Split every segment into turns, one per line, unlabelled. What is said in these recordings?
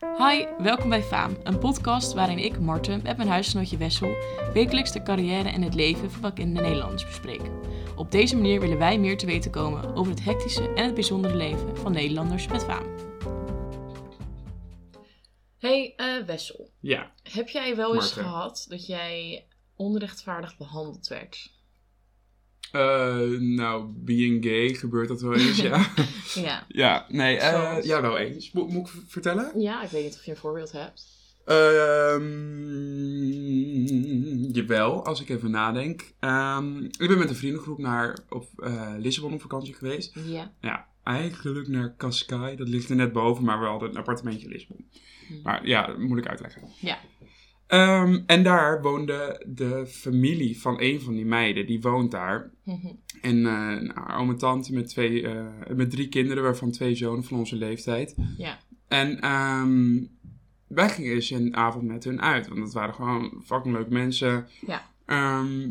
Hi, welkom bij Faam, een podcast waarin ik, Marten, met mijn huisgenootje Wessel wekelijks de carrière en het leven van bekende Nederlanders bespreek. Op deze manier willen wij meer te weten komen over het hectische en het bijzondere leven van Nederlanders met faam. Hey eh, Wessel,
Ja,
heb jij wel eens
Marten.
gehad dat jij onrechtvaardig behandeld werd?
Eh, nou, being gay gebeurt dat wel eens, ja.
Ja.
ja, nee, eh,
Zoals?
ja, wel eens. Mo- moet ik v- vertellen?
Ja, ik weet niet of je een voorbeeld hebt.
Ehm, jawel, als ik even nadenk. Ehm, ik ben met een vriendengroep naar op, eh, Lissabon op vakantie geweest. Nou
Ja.
Ja, eigenlijk naar Cascais, dat ligt er net boven, maar we hadden een appartementje in Lissabon.
Hmm.
Maar ja, dat moet ik uitleggen.
Ja.
Ehm, en daar woonde de familie van een van die meiden, die woont daar.
Mhm.
En eh, een oom en tante met, twee, eh, met drie kinderen, waarvan twee zonen van onze leeftijd.
Ja.
En ehm, wij gingen eens een avond met hun uit, want dat waren gewoon fucking leuke mensen.
Ja.
Ehm,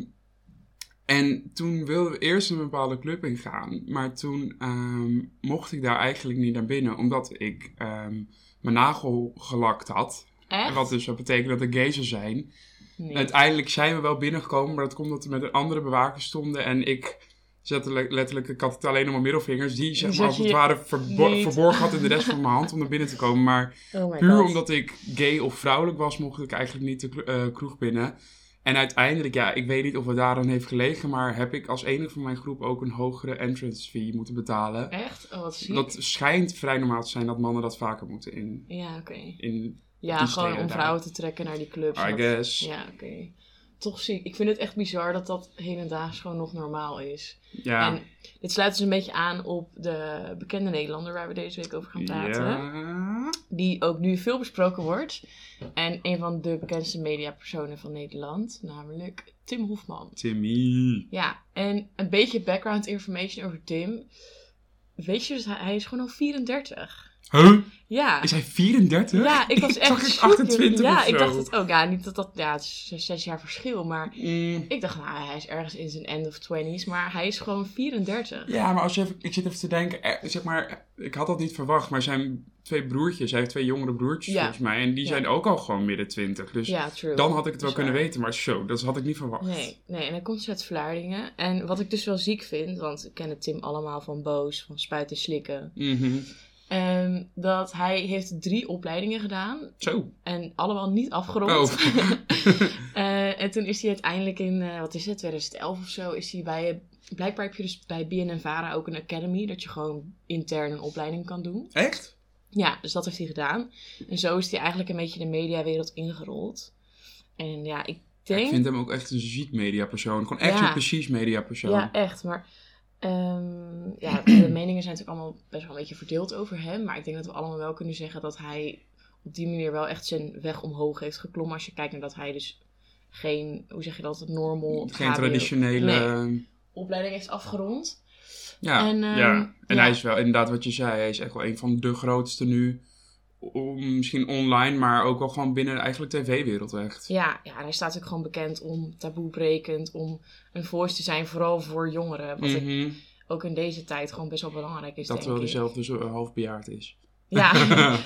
en toen wilden we eerst een bepaalde club ingaan, maar toen ehm, mocht ik daar eigenlijk niet naar binnen, omdat ik ehm, mijn nagel gelakt had.
Echt?
En wat dus zou betekenen dat ik gay zou zijn.
Nee.
Uiteindelijk zijn we wel binnengekomen, maar dat komt omdat we met een andere bewaker stonden en ik zette le- letterlijk, ik had het alleen op mijn middelvingers, die zeg
zet
maar als
je
het ware verbo-
niet.
verborgen had in de rest van mijn hand om er binnen te komen. Maar
Oh my
puur
god.
omdat ik gay of vrouwelijk was, mocht ik eigenlijk niet de kro- eh, kroeg binnen. En uiteindelijk, ja, ik weet niet of het daaraan heeft gelegen, maar heb ik als enige van mijn groep ook een hogere entrance fee moeten betalen.
Echt? Oh, wat ziek.
Dat schijnt vrij normaal te zijn dat mannen dat vaker moeten in,
Ja, oké.
in
Ja,
Die
gewoon
steden
om
daar. Ah, eh,
vrouwen te trekken naar die clubs.
I
Dat-
guess.
Ja, oké. Toch ziek. Ik vind het echt bizar dat dat hedendaags gewoon nog normaal is.
Ja.
En dit sluit dus een beetje aan op de bekende Nederlander waar we deze week over gaan praten.
ja.
Die ook nu veel besproken wordt. En een van de bekendste mediapersonen van Nederland, namelijk Tim Hofman.
Timmy.
Ja, en een beetje background information over Tim. Weet je, dus hij hij is gewoon al 34.
Huh?
Ja.
Is hij 34?
Ja, ik was echt
Zag ik
super-
28
Ja,
of zo?
ik dacht het ook. Ja, niet dat dat... Ja, het is zes- zes jaar verschil, maar...
Mm,
Ik dacht, nou, hij is ergens in zijn end of 20s, maar hij is gewoon 34.
Ja, maar als je even, ik zit even te denken, eh, zeg maar, ik had dat niet verwacht, maar zijn twee broertjes, hij heeft twee jongere broertjes
Ja.
volgens mij, en die
Ja.
zijn ook al gewoon midden 20. Dus
Ja, true.
dan had ik het wel
Dat is
kunnen
waar.
weten, maar zo, dat had ik niet verwacht.
Nee, nee, en hij komt dus uit Vlaardingen. En wat ik dus wel ziek vind, want ik ken het Tim allemaal van Boos, van Spuiten Slikken.
Mhm.
ehm, dat hij heeft drie opleidingen gedaan
Zo.
en allemaal niet afgerond.
Oh.
Eh, en toen is hij uiteindelijk in, eh, wat is het, 2011 of zo, is hij bij, blijkbaar heb je dus bij BNNVARA ook een academy, dat je gewoon intern een opleiding kan doen.
Echt?
Ja, dus dat heeft hij gedaan. En zo is hij eigenlijk een beetje de mediawereld ingerold. En ja, ik denk...
Ik vind hem ook echt een ziek mediapersoon. Gewoon echt
Ja.
een precies mediapersoon.
ja, echt, maar... ehm, ja, de meningen zijn natuurlijk allemaal best wel een beetje verdeeld over hem. Maar ik denk dat we allemaal wel kunnen zeggen dat hij op die manier wel echt zijn weg omhoog heeft geklommen. Als je kijkt naar dat hij dus geen, hoe zeg je dat, normal...
Geen
HBO
traditionele...
opleiding heeft afgerond.
Ja,
En,
en,
ehm,
ja. en
ja.
hij is wel inderdaad wat je zei. Hij is echt wel een van de grootste nu. O- misschien online, maar ook wel gewoon binnen eigenlijk tv-wereld echt.
Ja, ja, en hij staat ook gewoon bekend om taboebrekend, om een voice te zijn, vooral voor jongeren. Wat ik
Mhm.
ook in deze tijd gewoon best wel belangrijk is,
Dat
denk
wel
ik.
dezelfde zo, halfbejaard eh, is.
Ja,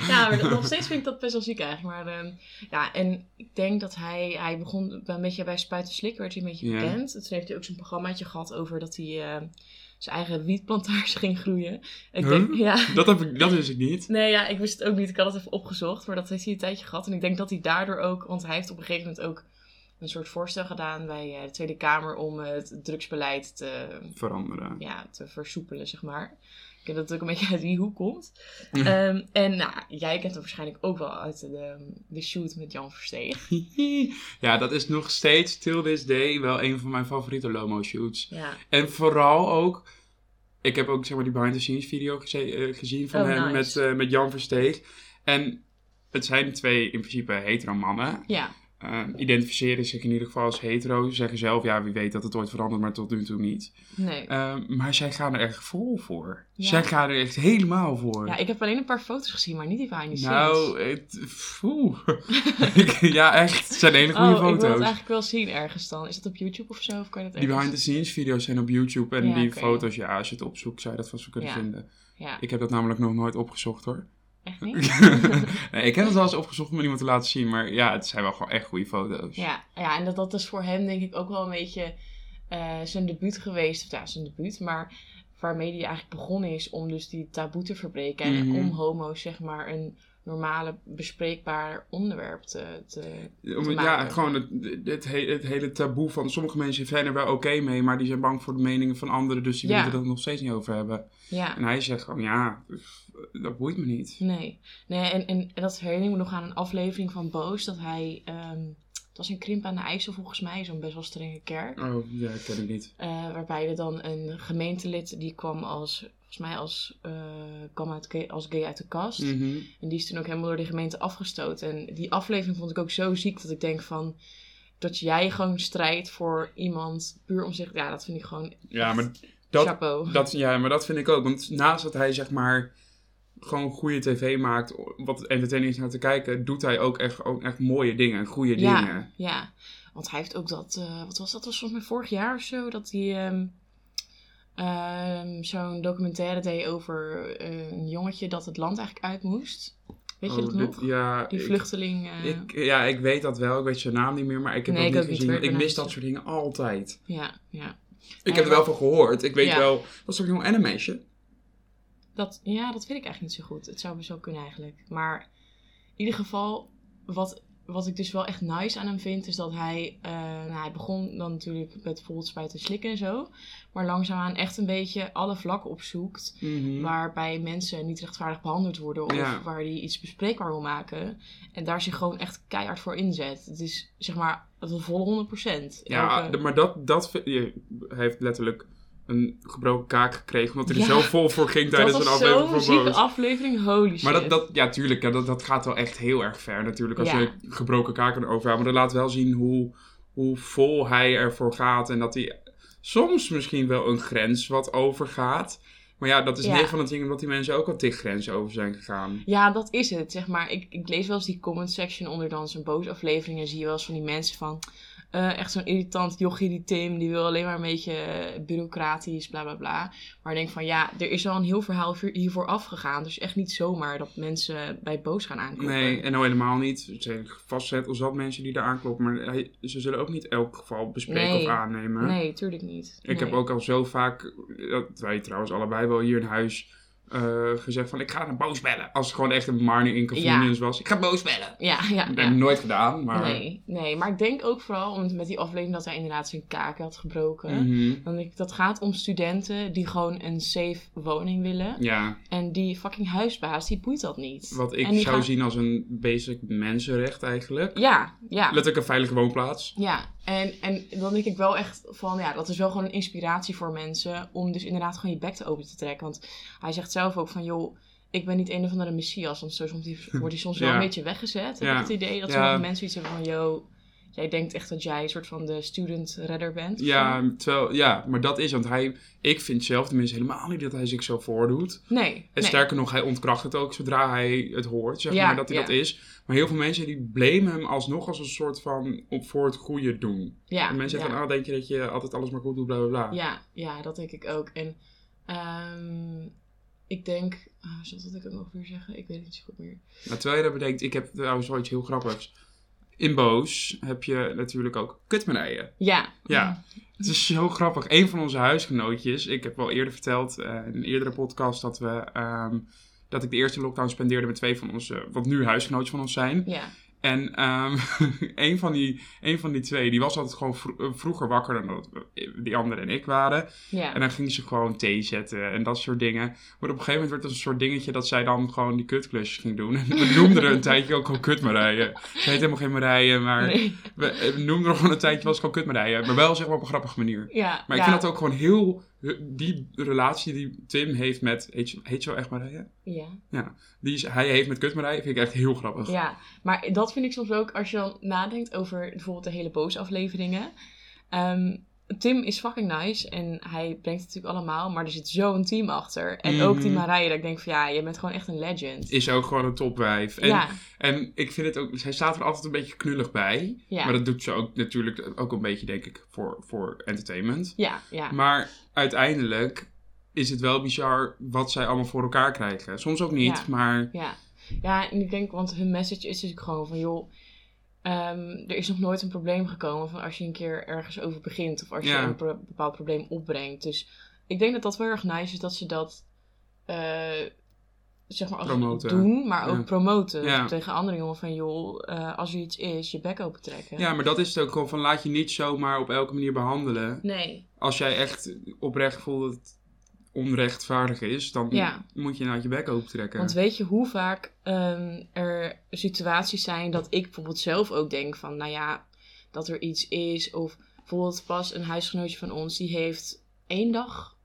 ja maar dat- nog steeds vind ik dat best wel ziek eigenlijk. Maar ehm, ja, en ik denk dat hij, hij begon bij- een beetje bij Spuiten Slik, werd hij een beetje
Ja.
bekend. En Toen heeft hij ook zo'n programmaatje gehad over dat hij ehm, zijn eigen wietplantage ging groeien. Ik
Huh?
denk, ja.
Dat, heb ik, dat wist ik niet.
Nee, ja, ik wist het ook niet. Ik had het even opgezocht, maar dat heeft hij een tijdje gehad. En ik denk dat hij daardoor ook, want hij heeft op een gegeven moment ook een soort voorstel gedaan bij eh, de Tweede Kamer om eh, het drugsbeleid te,
Veranderen.
ja, te versoepelen, zeg maar. Ik denk dat het ook een beetje uit die hoek komt. Ehm, en nou, jij kent hem waarschijnlijk ook wel uit de, de shoot met Jan Versteeg.
ja, dat is nog steeds, till this day, wel een van mijn favoriete Lomo shoots.
Ja,
En vooral ook, ik heb ook zeg maar die behind the scenes video geze- eh, gezien van
Oh, nice.
hem met, eh, met Jan Versteeg. En het zijn twee in principe hetero mannen.
ja,
Eh, identificeren zich in ieder geval als hetero. Ze zeggen zelf, ja, wie weet dat het ooit verandert, maar tot nu toe niet.
nee.
Eh, maar zij gaan er echt vol voor.
Ja.
Zij gaan er echt helemaal voor.
Ja, ik heb alleen een paar foto's gezien, maar niet die behind the scenes.
nou, het, oeh. Ik- ja, echt. Het zijn hele goede
oh, ik wil het
foto's.
eigenlijk wel zien ergens dan. Is dat op YouTube of zo? Of kan je dat ergens-
Die behind the scenes video's zijn op YouTube. En
Ja,
die
oké.
foto's, ja, als je het opzoekt, zou je dat vast wel kunnen
Ja.
vinden.
Ja.
Ik heb dat namelijk nog nooit opgezocht hoor.
Echt niet?
nee, ik heb het wel eens opgezocht om iemand te laten zien, maar ja, het zijn wel gewoon echt goede foto's.
ja, ja, en dat, dat is voor hem denk ik ook wel een beetje eh, zijn debuut geweest. Of ja, zijn debuut, maar waarmee hij eigenlijk begonnen is om dus die taboe te verbreken. En
Mhm.
om homo's zeg maar een normale bespreekbaar onderwerp te... te...
Om- ja,
maken.
gewoon het, het, he- het hele taboe van sommige mensen zijn er wel oké mee, maar die zijn bang voor de meningen van anderen, dus die
Ja.
willen het er nog steeds niet over hebben.
Ja.
En hij zegt gewoon, ja, pff, dat boeit me niet.
Nee, nee en, en dat herinner ik me nog aan een aflevering van Boos. Dat hij, ehm, het was een krimp aan de IJssel volgens mij, zo'n best wel strenge kerk.
Oh, ja, dat ken ik niet.
Eh, waarbij er dan een gemeentelid, die kwam als, volgens mij als, eh, kwam uit gay, als gay uit de kast.
Mhm.
En die is toen ook helemaal door de gemeente afgestoten. En die aflevering vond ik ook zo ziek dat ik denk van, dat jij gewoon strijdt voor iemand puur om zich, ja dat vind ik gewoon
Ja, maar dat,
chapeau.
Dat, ja, maar dat vind ik ook. Want naast dat hij zeg maar gewoon goede tv maakt, wat entertaining is naar te kijken, doet hij ook echt, ook echt mooie dingen, goede
Ja,
dingen.
ja, want hij heeft ook dat, eh, wat was dat, was volgens mij vorig jaar of zo, dat hij ehm, ehm, zo'n documentaire deed over eh, een jongetje dat het land eigenlijk uit moest. Weet je
Oh,
dat
dit-
nog?
Ja,
Die
ik-
vluchteling. eh,
Ik, ja, ik weet dat wel. Ik weet zijn naam niet meer, maar ik heb
Nee,
dat
ik
niet
ook niet,
gezien.
hoor. Ik
ik
ben
mis
aan
dat
het-
soort dingen altijd.
Ja, ja.
Ik
Ja,
heb er wel van gehoord. Ik weet
Ja.
wel, dat is ook een animeisje.
Dat, ja, dat weet ik eigenlijk niet zo goed. Het zou best wel kunnen eigenlijk. Maar in ieder geval, wat, wat ik dus wel echt nice aan hem vind, is dat hij... eh, nou, hij begon dan natuurlijk met bijvoorbeeld spuiten en slikken en zo. Maar langzaamaan echt een beetje alle vlakken opzoekt. waarbij mensen niet rechtvaardig behandeld worden of
Mhm. Ja.
waar hij iets bespreekbaar wil maken en daar zich gewoon echt keihard voor inzet. Het is zeg maar de volle 100%.
Ja,
Elke-
d- maar dat, dat vind- je- hij heeft letterlijk een gebroken kaak gekregen, omdat hij er
Ja.
zo vol voor ging
dat
tijdens een
was
aflevering
zo'n
van
zieke
Boos.
aflevering, holy shit.
Maar dat, dat, ja, tuurlijk, ja, dat, dat gaat wel echt heel erg ver natuurlijk. Als
Ja.
je gebroken kaken erover haalt. Maar dat laat wel zien hoe, hoe vol hij ervoor gaat. En dat hij soms misschien wel een grens wat overgaat. Maar ja, dat is
Ja.
9 van de dingen omdat die mensen ook al tig grenzen over zijn gegaan.
Ja, dat is het, zeg maar. Ik, ik lees wel eens die comment section onder dan zijn boos aflevering en zie je wel eens van die mensen van... eh, echt zo'n irritant jochie die Tim, die wil alleen maar een beetje eh, bureaucratisch, bla bla bla. Maar ik denk van ja, er is wel een heel verhaal hier- hiervoor afgegaan. Dus echt niet zomaar dat mensen bij boos gaan aankomen.
Nee, en nou helemaal niet. Er zijn vastgezet al zat mensen die daar aankloppen. Maar hij- ze zullen ook niet elk geval bespreken
Nee.
of aannemen.
Nee, tuurlijk niet.
Ik heb
Nee.
ook al zo vaak, dat wij trouwens allebei wel hier in huis, eh, gezegd van ik ga naar boos bellen. Als het gewoon echt een minor inconvenience was. Ik ga boos bellen.
Ja, ja,
Dat heb
ja.
ik nooit gedaan, maar...
Nee, nee, maar ik denk ook vooral om, met die aflevering dat hij inderdaad zijn kaken had gebroken.
Mhm.
Dan denk ik, dat gaat om studenten die gewoon een safe woning willen.
Ja,
En die fucking huisbaas, die boeit dat niet.
wat ik
En die
zou
gaan-
zien als een basic mensenrecht eigenlijk.
Ja, ja.
Letterlijk een veilige woonplaats.
Ja, en, en dan denk ik wel echt van, ja, dat is wel gewoon een inspiratie voor mensen om dus inderdaad gewoon je bek te open te trekken. Want hij zegt zelf ook van, joh, ik ben niet een of andere messias, want zo soms wordt hij soms wel
Hm. Ja.
een beetje weggezet. Heb
Ja.
ik het idee dat
Ja.
sommige mensen iets hebben van, joh, jij denkt echt dat jij een soort van de student redder bent. of zo.
Ja, terwijl, ja, maar dat is, want hij, ik vind zelf tenminste helemaal niet dat hij zich zo voordoet.
Nee,
En
nee.
sterker nog, hij ontkracht het ook zodra hij het hoort, zeg
Ja,
maar, dat hij
ja.
dat is. Maar heel veel mensen die blamen hem alsnog als een soort van op voor het goede doen.
ja,
en mensen
ja.
zeggen van, ah, denk je dat je altijd alles maar goed doet, bla bla bla.
Ja, ja, dat denk ik ook. En ehm, ik denk, ah, zat dat ik ook nog weer zeggen? Ik weet het niet zo goed meer.
Maar Nou, terwijl je dat bedenkt, ik heb trouwens wel iets heel grappigs. In Boos heb je natuurlijk ook kutmanijen.
Ja.
Ja, het is zo grappig. Een van onze huisgenootjes, ik heb wel eerder verteld eh, in een eerdere podcast dat we. ehm, dat ik de eerste lockdown spendeerde met twee van onze, wat nu huisgenootjes van ons zijn.
Ja,
En ehm, een, van die, een van die twee, die was altijd gewoon vro- eh, vroeger wakker dan dat we- die andere en ik waren.
ja.
En dan ging ze gewoon thee zetten en dat soort dingen. Maar op een gegeven moment werd het een soort dingetje dat zij dan gewoon die kutklusjes ging doen. En we noemden er een tijdje ook gewoon kutmarijen. Ze heet helemaal geen Marije, maar
Nee.
we, eh, we noemden er gewoon een tijdje wel eens gewoon kutmarijen. Maar wel zeg maar op een grappige manier.
Ja,
Maar ik
ja,
vind dat ook gewoon heel... eh, Die relatie die Tim heeft met... Heet ze, heet ze wel echt Marije?
Ja.
Die is, hij heeft met kutmarije vind ik echt heel grappig.
Ja, maar dat vind ik soms ook als je dan nadenkt over bijvoorbeeld de hele boze afleveringen. Ehm, Tim is fucking nice en hij brengt het natuurlijk allemaal, maar er zit zo'n team achter. En ook die
Mhm.
Marije, dat ik denk van ja, je bent gewoon echt een legend.
Is ook gewoon een topwijf. En,
ja,
en ik vind het ook... Zij staat er altijd een beetje knullig bij.
ja,
Maar dat doet ze ook natuurlijk ook een beetje, denk ik, voor, voor entertainment.
ja, ja.
Maar uiteindelijk is het wel bizar wat zij allemaal voor elkaar krijgen. Soms ook niet,
Ja.
maar...
ja. Ja, en ik denk, want hun message is dus ook gewoon van, joh, ehm, er is nog nooit een probleem gekomen van als je een keer ergens over begint of als
Ja.
je een pro- bepaald probleem opbrengt. Dus ik denk dat dat wel erg nice is dat ze dat, eh, zeg maar, als
Promoten.
doen, maar ook
Ja.
promoten
Ja.
tegen andere jongen van, joh, eh, als er iets is, je bek open trekken.
Ja, maar dat is het ook gewoon van laat je niet zomaar op elke manier behandelen.
Nee,
Als jij echt oprecht voelt dat het onrechtvaardig is, dan
Ja.
moet je inderdaad je bek open trekken.
want weet je hoe vaak ehm, er situaties zijn dat ik bijvoorbeeld zelf ook denk van, nou ja, dat er iets is. Of bijvoorbeeld pas een huisgenootje van ons, die heeft één dag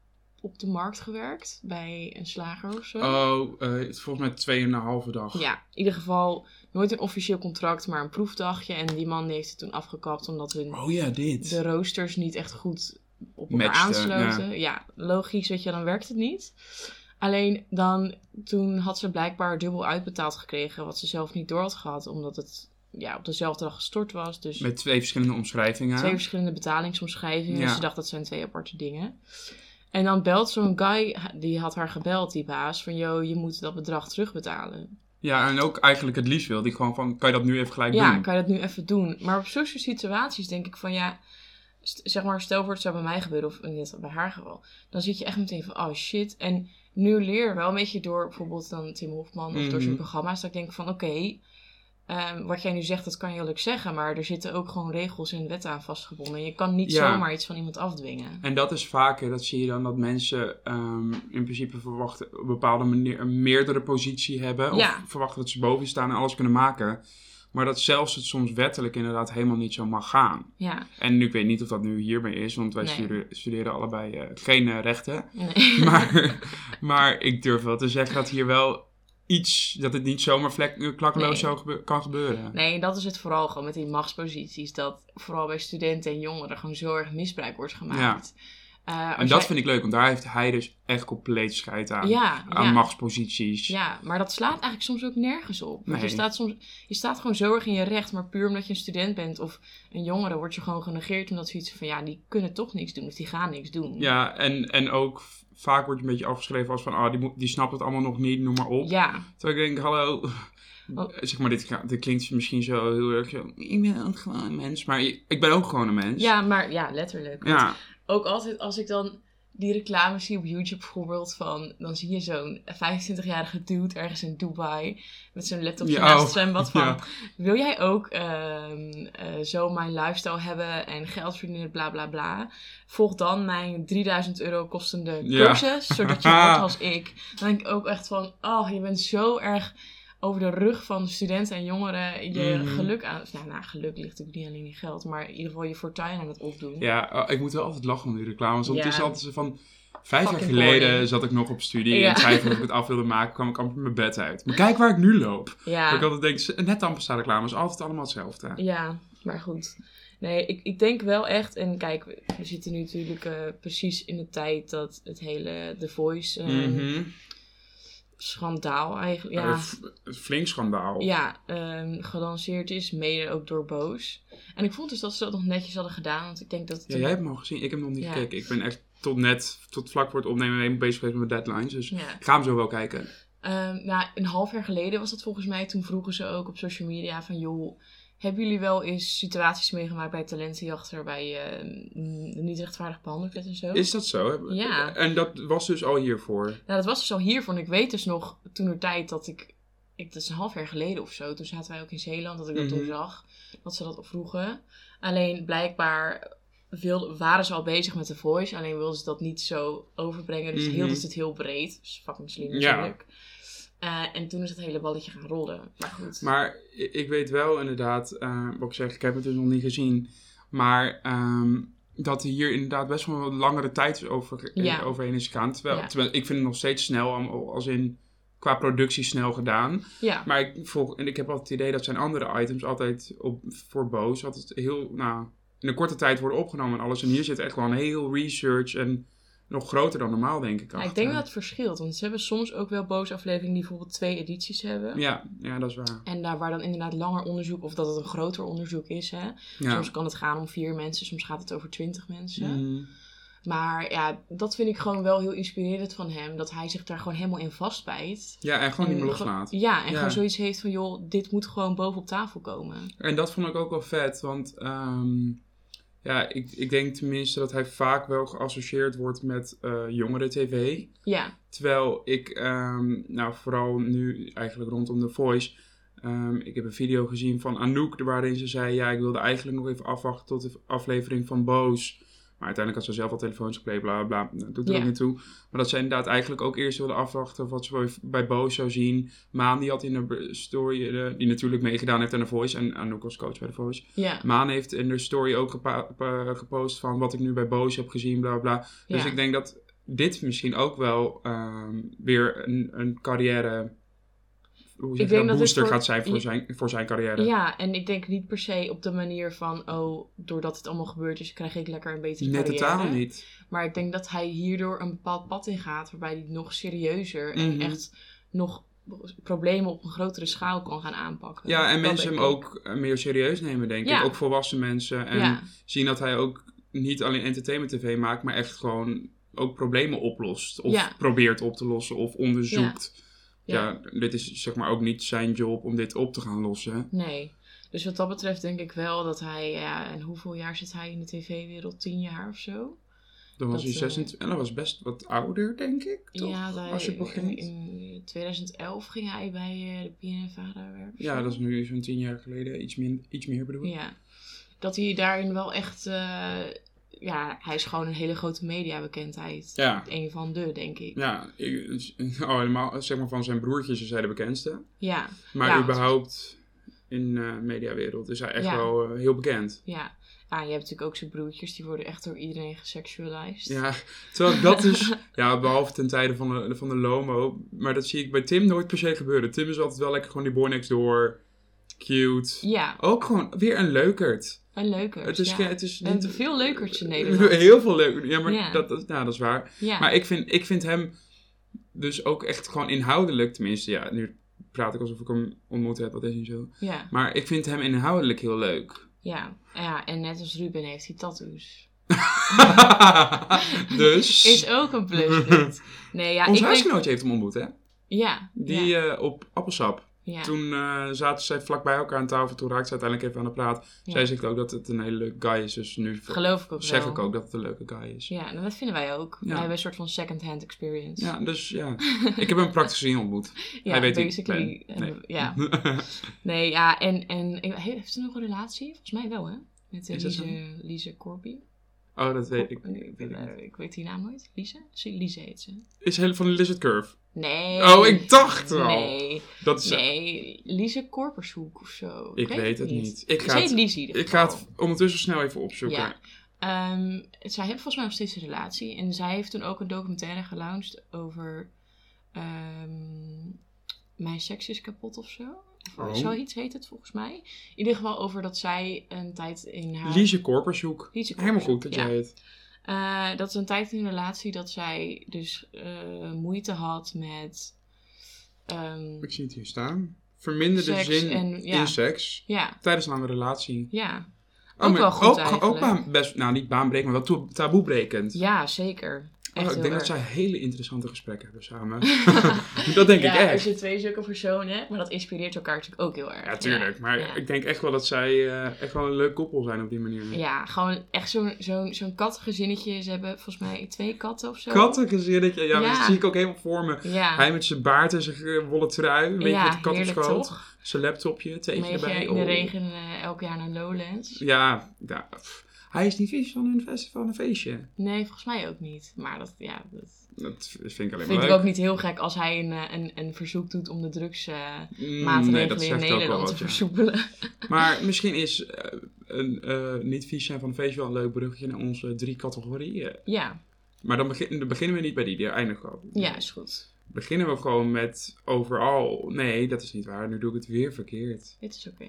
op de markt gewerkt bij een slager of zo.
Oh, eh, het is volgens mij tweeënhalve dag.
Ja, in ieder geval nooit een officieel contract, maar een proefdagje. En die man die heeft het toen afgekapt omdat hun
Oh ja, dit.
de roosters niet echt goed op elkaar
Matchten,
aansloten. Ja. logisch, weet je, dan werkt het niet. Alleen dan, toen had ze blijkbaar dubbel uitbetaald gekregen, wat ze zelf niet door had gehad, omdat het ja, op dezelfde dag gestort was. Dus
Met twee verschillende omschrijvingen.
twee verschillende betalingsomschrijvingen.
Ja.
Dus ze dacht dat zijn twee aparte dingen. En dan belt zo'n guy, die had haar gebeld, die baas, van joh, je moet dat bedrag terugbetalen.
Ja, en ook eigenlijk het liefst wilde ik gewoon van, kan je dat nu even gelijk
ja,
doen?
kan je dat nu even doen? Maar op zulke situaties denk ik van ja, st- zeg maar, stel voor het zou bij mij gebeuren of in dit- bij haar geval. Dan zit je echt meteen van oh shit. En nu leer je wel een beetje door bijvoorbeeld dan Tim Hofman of door
Mhm.
zijn programma's. Dat ik denk van oké, ehm, wat jij nu zegt, dat kan je leuk zeggen. Maar er zitten ook gewoon regels en wetten aan vastgebonden. En je kan niet
Ja.
zomaar iets van iemand afdwingen.
En dat is vaker, dat zie je dan dat mensen ehm, in principe verwachten op een bepaalde manier een meerdere positie hebben. Of
Ja.
verwachten dat ze boven je staan en alles kunnen maken. Maar dat zelfs het soms wettelijk inderdaad helemaal niet zo mag gaan.
Ja,
En ik weet niet of dat nu hiermee is, want wij
Nee.
studeren, studeren allebei eh, geen eh, rechten.
nee.
Maar, maar ik durf wel te zeggen dat hier wel iets, dat het niet zomaar vlek, klakkeloos
Nee.
zou gebe- kan gebeuren.
Nee, en dat is het vooral gewoon met die machtsposities. Dat vooral bij studenten en jongeren gewoon zo erg misbruik wordt gemaakt. Eh,
En
als
dat
jij-
vind ik leuk, want daar heeft hij dus echt compleet scheid aan.
ja,
aan
ja,
machtsposities.
Ja, maar dat slaat eigenlijk soms ook nergens op. Want je,
Nee.
staat soms, je staat gewoon zo erg in je recht, maar puur omdat je een student bent of een jongere, word je gewoon genegeerd omdat ze iets van ja, die kunnen toch niks doen of die gaan niks doen.
Ja, en, en ook v- vaak wordt je een beetje afgeschreven als van, ah, die, moet- die snapt het allemaal nog niet, noem maar op.
Ja,
Terwijl ik denk, hallo,
Oh.
zeg maar, dit, ga- dit klinkt misschien zo heel erg zo, ik ben ook gewoon een mens, maar je- ik ben ook gewoon een mens.
ja, maar ja, letterlijk. Want
Dus- Ja,
Ook altijd als ik dan die reclames zie op YouTube bijvoorbeeld van, dan zie je zo'n 25-jarige dude ergens in Dubai met zo'n laptopje
Ja,
naast
oh,
het zwembad van,
ja.
wil jij ook ehm, eh, zo mijn lifestyle hebben en geld verdienen, bla bla bla. Volg dan mijn 3000 euro kostende
Ja.
cursus, zodat je wordt als ik. Dan denk ik ook echt van, oh, je bent zo erg over de rug van studenten en jongeren je
Mhm.
geluk aan... Nou, nou, geluk ligt natuurlijk niet alleen in geld, maar in ieder geval je fortuin aan het opdoen.
ja oh, ik moet wel altijd lachen om die reclames, want het
Ja.
is altijd zo van, vijf jaar
Fucking
geleden
boring.
zat ik nog op studie
Ja.
en twijfelde of ik het af wilde maken, kwam ik amper mijn bed uit. Maar kijk waar ik nu loop.
Ja.
Ik altijd denk, s- net amper staan reclames, altijd allemaal hetzelfde.
Ja, maar goed. Nee, ik, ik denk wel echt. En kijk, we, we zitten nu natuurlijk eh, precies in de tijd dat het hele The Voice eh,
Mhm.
schandaal eigenlijk. Ja,
Eh, f- flink schandaal.
ja ehm, gelanceerd is, mede ook door Boos. En ik vond dus dat ze dat nog netjes hadden gedaan. Want ik denk dat.
Ja, jij hebt hem al gezien. Ik heb hem nog niet
Ja.
gekeken. Ik ben echt tot net, tot vlak voor het opnemen helemaal bezig geweest met mijn deadlines. Dus
Ja.
ik ga hem zo wel kijken.
Ehm, nou, een half jaar geleden was dat volgens mij. Toen vroegen ze ook op social media van... joh, hebben jullie wel eens situaties meegemaakt bij talentenjacht... waarbij je ehm, niet rechtvaardig behandeld werd en zo?
Is dat zo?
Ja.
En dat was dus al hiervoor.
Nou, dat was dus al hiervan. Ik weet dus nog toen de tijd dat ik, ik. Dat is een half jaar geleden of zo. Toen zaten wij ook in Zeeland. Dat ik dat toen
Mhm.
zag. Dat ze dat al vroegen. Alleen blijkbaar wil, waren ze al bezig met de voice. Alleen wilden ze dat niet zo overbrengen. Dus
Mhm.
hielden ze het heel breed. Dat is fucking slim
Ja.
natuurlijk. Eh, en toen is het hele balletje gaan rollen. Maar goed.
Maar i- ik weet wel inderdaad, eh, wat ik zeg, ik heb het dus nog niet gezien. Maar ehm, dat er hier inderdaad best wel een langere tijd over, eh,
Ja.
overheen is gegaan. Terwijl,
Ja.
terwijl ik vind het nog steeds snel, am- als in qua productie snel gedaan.
ja.
Maar ik, volg, en ik heb altijd het idee dat zijn andere items altijd op, voor Boos altijd heel, nou, in een korte tijd worden opgenomen en alles. En hier zit echt gewoon heel research en nog groter dan normaal, denk ik.
Ja, ik
achter.
denk dat het verschilt. Want ze hebben soms ook wel boze afleveringen die bijvoorbeeld twee edities hebben.
Ja, ja, dat is waar.
En daar waar dan inderdaad langer onderzoek of dat het een groter onderzoek is. Hè?
Ja.
Soms kan het gaan om vier mensen, soms gaat het over twintig mensen.
Mm.
Maar ja, dat vind ik gewoon wel heel inspirerend van hem. Dat hij zich daar gewoon helemaal in vastbijt.
Ja, en gewoon niet
En
meer
ge-
loslaat.
Ja, en
Ja.
gewoon zoiets heeft van, joh, dit moet gewoon boven op tafel komen.
En dat vond ik ook wel vet, want ehm, ja, ik, ik denk tenminste dat hij vaak wel geassocieerd wordt met eh, jongeren jongeren-tv.
Ja,
Terwijl ik, ehm, nou vooral nu eigenlijk rondom The Voice, ehm, ik heb een video gezien van Anouk waarin ze zei, ja ik wilde eigenlijk nog even afwachten tot de aflevering van Boos. Maar uiteindelijk had ze zelf al telefoons gekleed, bla bla bla, dat doet er
Ja.
ook niet toe. Maar dat ze inderdaad eigenlijk ook eerst wilde afwachten wat ze bij- bij Boos zou zien. Maan die had in de story, eh, die natuurlijk meegedaan heeft aan The Voice en Anouk was coach bij The Voice.
ja,
Maan heeft in de story ook gepa- pa- gepost van wat ik nu bij Boos heb gezien, bla bla. Dus
ja.
ik denk dat dit misschien ook wel ehm, weer een, een carrière. Hoe zeg
Ik
je
denk dat
dat?
dit
Booster
voor-
gaat zijn voor
Ja.
zijn, voor zijn carrière.
Ja, en ik denk niet per se op de manier van, oh, doordat het allemaal gebeurd is, krijg ik lekker een betere
Net
carrière.
totaal niet.
Maar ik denk dat hij hierdoor een bepaald pad in gaat, waarbij hij nog serieuzer en
Mhm.
echt nog problemen op een grotere schaal kan gaan aanpakken.
Ja,
Dat
en mensen hem
denk ik.
ook eh, meer serieus nemen, denk
Ja.
ik. Ook volwassen mensen. En
Ja,
zien dat hij ook niet alleen entertainment tv maakt, maar echt gewoon ook problemen oplost. Of
Ja.
probeert op te lossen of onderzoekt.
ja.
Ja. dit is zeg maar ook niet zijn job om dit op te gaan lossen.
Nee. Dus wat dat betreft denk ik wel dat hij, ja, en hoeveel jaar zit hij in de tv-wereld? Tien jaar of zo?
Dan
Dat,
was hij
eh,
26 en dat was best wat ouder, denk ik. Toch?
ja, hij-
als je begint.
in 2011 ging hij bij eh, de PNVARA werken. of
Ja,
zo.
dat is nu zo'n tien jaar geleden. Iets, min, iets meer bedoel ik.
Ja. Dat hij daarin wel echt, eh, ja, hij is gewoon een hele grote mediabekendheid.
Ja.
Een van de, denk ik.
Ja, ik- oh, helemaal, zeg maar van zijn broertjes is hij de bekendste.
Ja.
Maar
Ja, want-
überhaupt in de mediawereld is hij echt
Ja.
wel eh, heel bekend.
Ja. Ah, je hebt natuurlijk ook zijn broertjes, die worden echt door iedereen gesexualized.
Ja, terwijl ik dat dus... ja, behalve ten tijde van de, van de Lomo. Maar dat zie ik bij Tim nooit per se gebeuren. Tim is altijd wel lekker gewoon die boy next door. Cute.
Ja,
Ook gewoon weer een leukert.
een leuker.
Het is,
ja.
ge- het is
We hebben
niet...
veel leukertjes in Nederland.
Heel veel leuk. Ja, maar
Ja.
Dat, dat, nou, dat is waar.
Ja.
Maar ik vind, ik vind hem dus ook echt gewoon inhoudelijk, tenminste, ja, nu praat ik alsof ik hem ontmoet heb, dat is niet zo.
ja.
Maar ik vind hem inhoudelijk heel leuk.
Ja. ja, en net als Ruben heeft hij tattoos.
dus,
Is ook een pluspunt. Nee, ja,
ons
ik denk...
huisgenootje heeft hem ontmoet, hè?
Ja,
Die
ja,
eh, op appelsap.
ja.
Toen eh, zaten zij vlak bij elkaar aan tafel, toen raakte ze uiteindelijk even aan de praat.
Ja.
Zij zegt ook dat het een hele leuke guy is, dus nu
geloof ik ook
zeg
wel.
ik ook dat het een leuke guy is.
Ja, nou, dat vinden wij ook.
Ja.
Wij hebben een soort van second-hand experience.
Ja, dus ja. Ik heb hem praktisch gezien ontmoet.
Ja,
Hij weet wie ik
basically. eh,
ben. Nee.
Ja, nee, ja, en, en ik- he- heeft ze nog een relatie? Volgens mij wel, hè? Met eh,
Is dat zo?
Lise, Lise Corby.
oh, dat weet ik.
Cor- nee, ik,
weet ik
eh, ik weet die naam nooit. Lise? Zie- Lise heet ze.
Is heel van de Lizard Curve.
Nee.
Oh, ik dacht wel.
Nee,
Dat is,
nee. Lise Korpershoek of zo.
Ik weet het niet. Ik
Ze
ga
heet
het-
Lise in ieder
Ik ga
geval.
het ondertussen snel even opzoeken.
Ja. Ehm, zij hebben volgens mij nog steeds een relatie. En zij heeft toen ook een documentaire gelaunched over... ehm, Mijn seks is kapot of zo. Of
Oh.
Zoiets heet het volgens mij. In ieder geval over dat zij een tijd in haar...
Liesje Korpershoek.
Liesje
Helemaal
Korpershoek, ja.
goed dat jij het.
Eh, dat is een tijd in een relatie dat zij dus eh, moeite had met... ehm,
Ik zie het hier staan. Verminderde
Seks
zin
en- ja.
in seks
ja,
tijdens een lange relatie.
ja,
Oh,
Ook
maar
wel goed
ook,
eigenlijk.
ook baan- best, nou niet baanbrekend, maar wel toe- taboebrekend.
ja, zeker.
Oh,
Echt
ik
heel
denk
erg.
dat zij hele interessante gesprekken hebben samen. dat denk
ja,
ik
er
echt.
zitten twee zulke personen, hè, maar dat inspireert elkaar natuurlijk ook heel erg.
Ja, tuurlijk. Maar
ja.
ik denk echt wel dat zij eh, echt wel een leuk koppel zijn op die manier.
Ja, gewoon echt zo'n zo'n zo'n kattengezinnetje. Ze hebben volgens mij twee katten of zo.
Kattengezinnetje. Ja,
Ja.
dat zie ik ook helemaal voor me.
Ja.
Hij met zijn baard en zijn eh, wollen trui. Een beetje
ja,
met de kat op
heerlijk
schoot.
toch?
Zijn laptopje,
Een
theetje
beetje
erbij.
in de
Oh.
regen eh, elk jaar naar Lowlands.
Ja, ja, pff. hij is niet vies van een festival een feestje.
Nee, volgens mij ook niet. Maar dat, ja, dat
Dat vind ik alleen maar
vind ik
leuk.
ook niet heel gek als hij een, eh, een, een verzoek doet om de drugsmaatregelen
Mm, nee, dat
maatregelen in
zegt ook wel
Nederland te
wat, ja.
versoepelen.
Maar misschien is eh, een eh, niet vies zijn van een feestje wel een leuk bruggetje naar onze drie categorieën.
Ja, maar
Maar dan, begin- dan beginnen we niet bij die, die eindigen we ook.
ja, is goed.
Beginnen we gewoon met overal. Nee, dat is niet waar. Nu doe ik het weer verkeerd.
Dit is oké.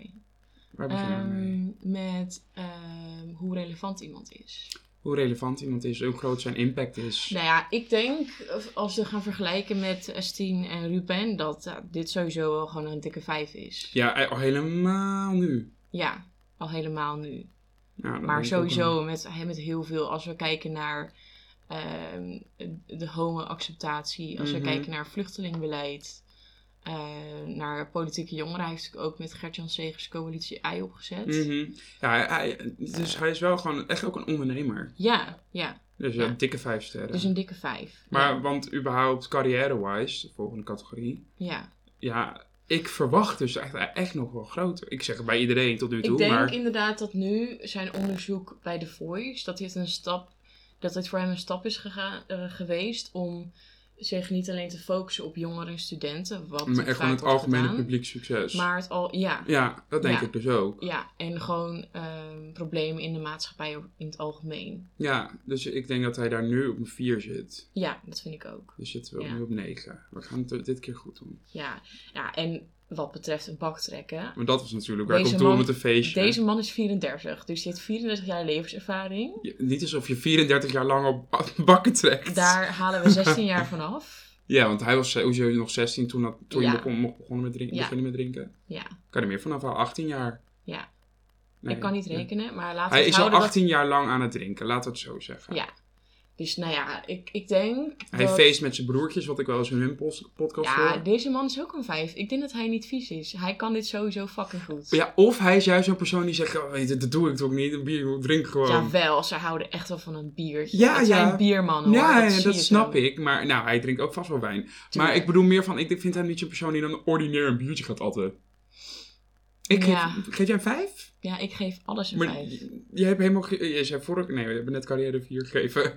Waar beginnen we mee?
Ehm, met ehm, hoe relevant iemand is.
Hoe relevant iemand is, hoe groot zijn impact is.
Nou ja, ik denk, als we gaan vergelijken met Estine en Ruben, dat eh, dit sowieso wel gewoon een dikke vijf is.
Ja, eh, al helemaal nu.
Ja, al helemaal nu.
Ja, dat denk
Maar
ik ook wel.
sowieso met, met heel veel, als we kijken naar ehm, de homo-acceptatie. Als
Mhm.
we kijken naar vluchtelingbeleid, eh, naar politieke jongeren. Hij heeft natuurlijk ook met Gert-Jan Segers coalitie I opgezet.
Mhm. Ja, hij, dus hij is wel gewoon echt ook een ondernemer.
Ja, ja.
Dus ja,
Ja.
dikke vijf sterren.
Dus een dikke vijf.
Maar
Ja.
want überhaupt carrière-wise, de volgende categorie.
ja.
Ja, ik verwacht dus echt, echt nog wel groter. Ik zeg het bij iedereen tot nu toe,
Ik denk
maar...
inderdaad dat nu zijn onderzoek bij The Voice, dat dit een stap, dat dit voor hem een stap is gega- eh, geweest om zich niet alleen te focussen op jongeren en studenten, wat
Maar echt
vaak
gewoon het
wordt
algemene
gedaan,
publiek succes.
maar het al, ja,
Ja, dat denk
Ja.
ik dus ook.
ja, en gewoon ehm, problemen in de maatschappij in het algemeen.
Ja, dus ik denk dat hij daar nu op een 4 zit.
Ja, dat vind ik ook.
Dus zitten we
Ja.
nu op 9. We gaan het dit keer goed doen.
Ja, ja en wat betreft een bak trekken.
Maar dat was natuurlijk waar
Deze
ik op doel
man-
met een feestje.
Deze man is 34, dus die heeft 34 jaar levenservaring.
Je- niet alsof je 34 jaar lang op bakken trekt.
Daar halen we 16 jaar van af.
Ja, want hij was sowieso nog 16 toen, dat, toen
Ja.
hij begon, mocht begonnen met drinken,
Ja.
beginnen met drinken.
Ja.
Kan er meer vanaf al 18 jaar.
Ja.
Nee,
ik kan niet
ja.
rekenen, maar laten we
Hij
het
is al
houden dat-
18 jaar lang aan het drinken, laten we het zo zeggen.
Ja, Dus nou ja, ik, ik denk
hij
dat...
feest met zijn broertjes, wat ik wel eens in hun pos- podcast
Ja,
hoor.
deze man is ook een vijf. Ik denk dat hij niet vies is. Hij kan dit sowieso fucking goed.
Ja, of hij is juist zo'n persoon die zegt, oh, weet je, dat doe ik toch niet, een bier, ik drink gewoon.
Jawel, ze houden echt wel van een biertje.
Ja,
Het
ja.
zijn biermannen hoor.
ja, ja,
dat,
dat,
zie je
snap
zo.
ik. Maar nou, hij drinkt ook vast wel wijn. Maar
Tuurlijk.
ik bedoel meer van, ik vind hem niet zo'n persoon die dan ordinair een biertje gaat atten. Ik
Ja.
geef, geef jij een vijf?
Ja, ik geef alles een
Maar
vijf.
je, je hebt helemaal... ge- Je zei vorige... Nee, we hebben net carrière vier gegeven.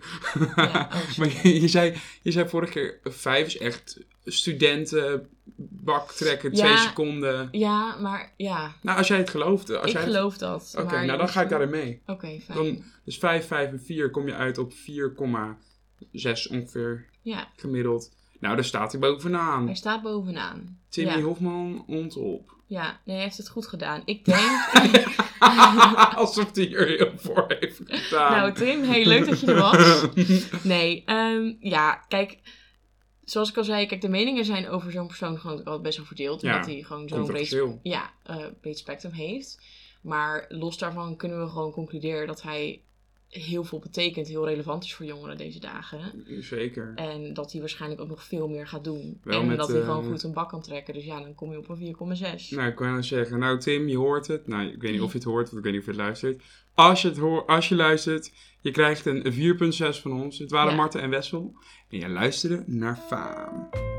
Ja, oh, sorry.
maar je, je zei, je zei vorige keer, vijf is echt studenten, bak trekken, twee
Ja.
seconden.
Ja, maar ja,
Nou, als jij het gelooft. Als
ik
jij het-
geloof dat.
Oké,
maar-
nou dan ga ik daarin mee.
Oké, fijn.
Dan, dus 5, 5 en 4 kom je uit op 4,6 ongeveer
Ja,
gemiddeld. Nou, daar staat hij bovenaan.
hij staat bovenaan.
Timmy
Ja.
Hofman ontop.
Ja, nee, hij heeft het goed gedaan. Ik denk...
Alsof hij er heel voor heeft gedaan.
nou, Tim, hey, leuk dat je er was. Nee, ehm, ja, kijk, zoals ik al zei, kijk, de meningen zijn over zo'n persoon gewoon altijd best wel verdeeld.
Ja,
Omdat hij gewoon zo'n breed,
Controversieel.
ja, eh, breed spectrum heeft. Maar los daarvan kunnen we gewoon concluderen dat hij heel veel betekent, heel relevant is voor jongeren deze dagen.
Zeker.
En dat hij waarschijnlijk ook nog veel meer gaat doen.
Wel
en
met,
dat hij
eh,
gewoon goed een bak kan trekken. Dus ja, dan kom je op een 4,6.
Nou, ik kan wel zeggen, nou Tim, je hoort het. Nou, ik weet niet of je het hoort, want ik weet niet of je het luistert. Als je, het hoor, als je luistert, je krijgt een 4.6 van ons. Het waren
Ja.
Marten en Wessel. En je luisterde naar Faam.